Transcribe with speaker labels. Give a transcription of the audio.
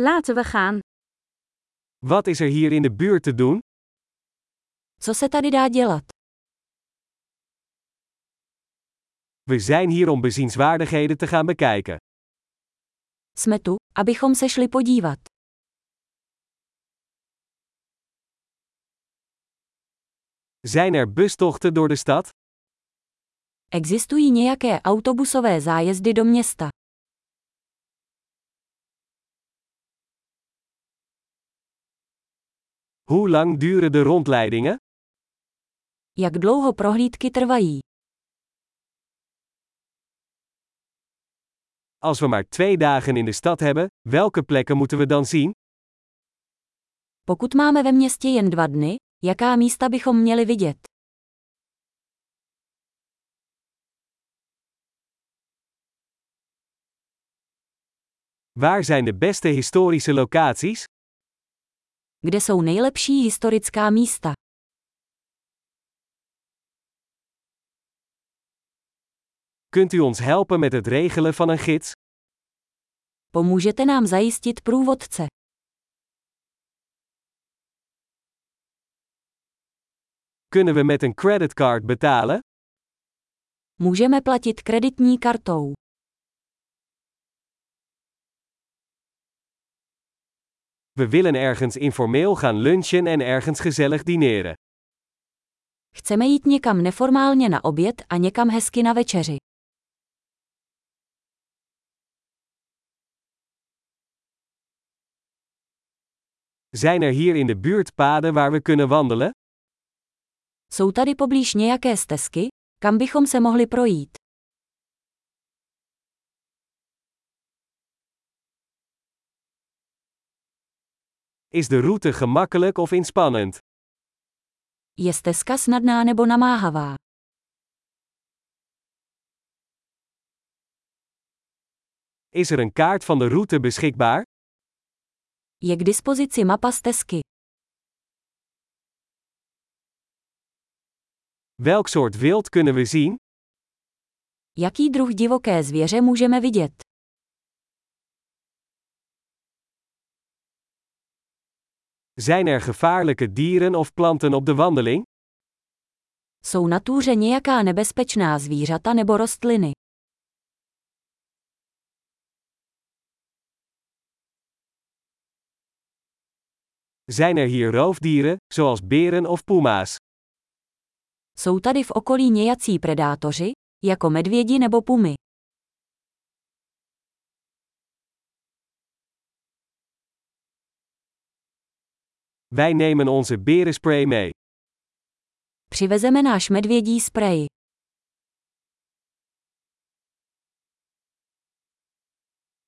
Speaker 1: Laten we gaan.
Speaker 2: Wat is er hier in de buurt te doen?
Speaker 3: Co se tady dá dělat?
Speaker 2: We zijn hier om bezienswaardigheden te gaan bekijken.
Speaker 3: Jsme tu, abychom se šli podívat.
Speaker 2: Zijn er bustochten door de stad?
Speaker 3: Existují nějaké autobusové zájezdy do města.
Speaker 2: Hoe lang duren de rondleidingen?
Speaker 3: Jak dlouho prohlídky trvají?
Speaker 2: Als we maar twee dagen in de stad hebben, welke plekken moeten we dan zien?
Speaker 3: Pokud máme ve městě jen dva dny, jaká místa bychom měli vidět?
Speaker 2: Waar zijn de beste historische locaties?
Speaker 3: Kde jsou nejlepší historická místa?
Speaker 2: Kunt u ons helpen met het regelen van een gids?
Speaker 3: Pomůžete nám zajistit průvodce.
Speaker 2: Kunnen we met een creditcard betalen?
Speaker 3: Můžeme platit kreditní kartou.
Speaker 2: We willen ergens informeel gaan lunchen en ergens gezellig dineren.
Speaker 3: Chceme jít někam neformálně na oběd a někam hezky na večeři.
Speaker 2: Zijn er hier in de buurt paden waar we kunnen wandelen?
Speaker 3: Jsou tady poblíž nějaké stezky, kam bychom se mohli projít?
Speaker 2: Is de route gemakkelijk of inspannend?
Speaker 3: Je stezka snadná nebo namáhavá?
Speaker 2: Is er een kaart van de route beschikbaar?
Speaker 3: Je k dispozici mapa stezky.
Speaker 2: Welk soort wild kunnen we zien?
Speaker 3: Jaký druh divoké zvěře můžeme vidět?
Speaker 2: Zijn er gevaarlijke dieren of planten op de wandeling?
Speaker 3: Jsou na túře nějaká nebezpečná zvířata nebo rostliny?
Speaker 2: Zijn er hier roofdieren, zoals beren of puma's?
Speaker 3: Jsou tady v okolí nějací predátoři, jako medvědi nebo pumy?
Speaker 2: Wij nemen onze berenspray mee.
Speaker 3: Přivezeme náš medvědí sprej.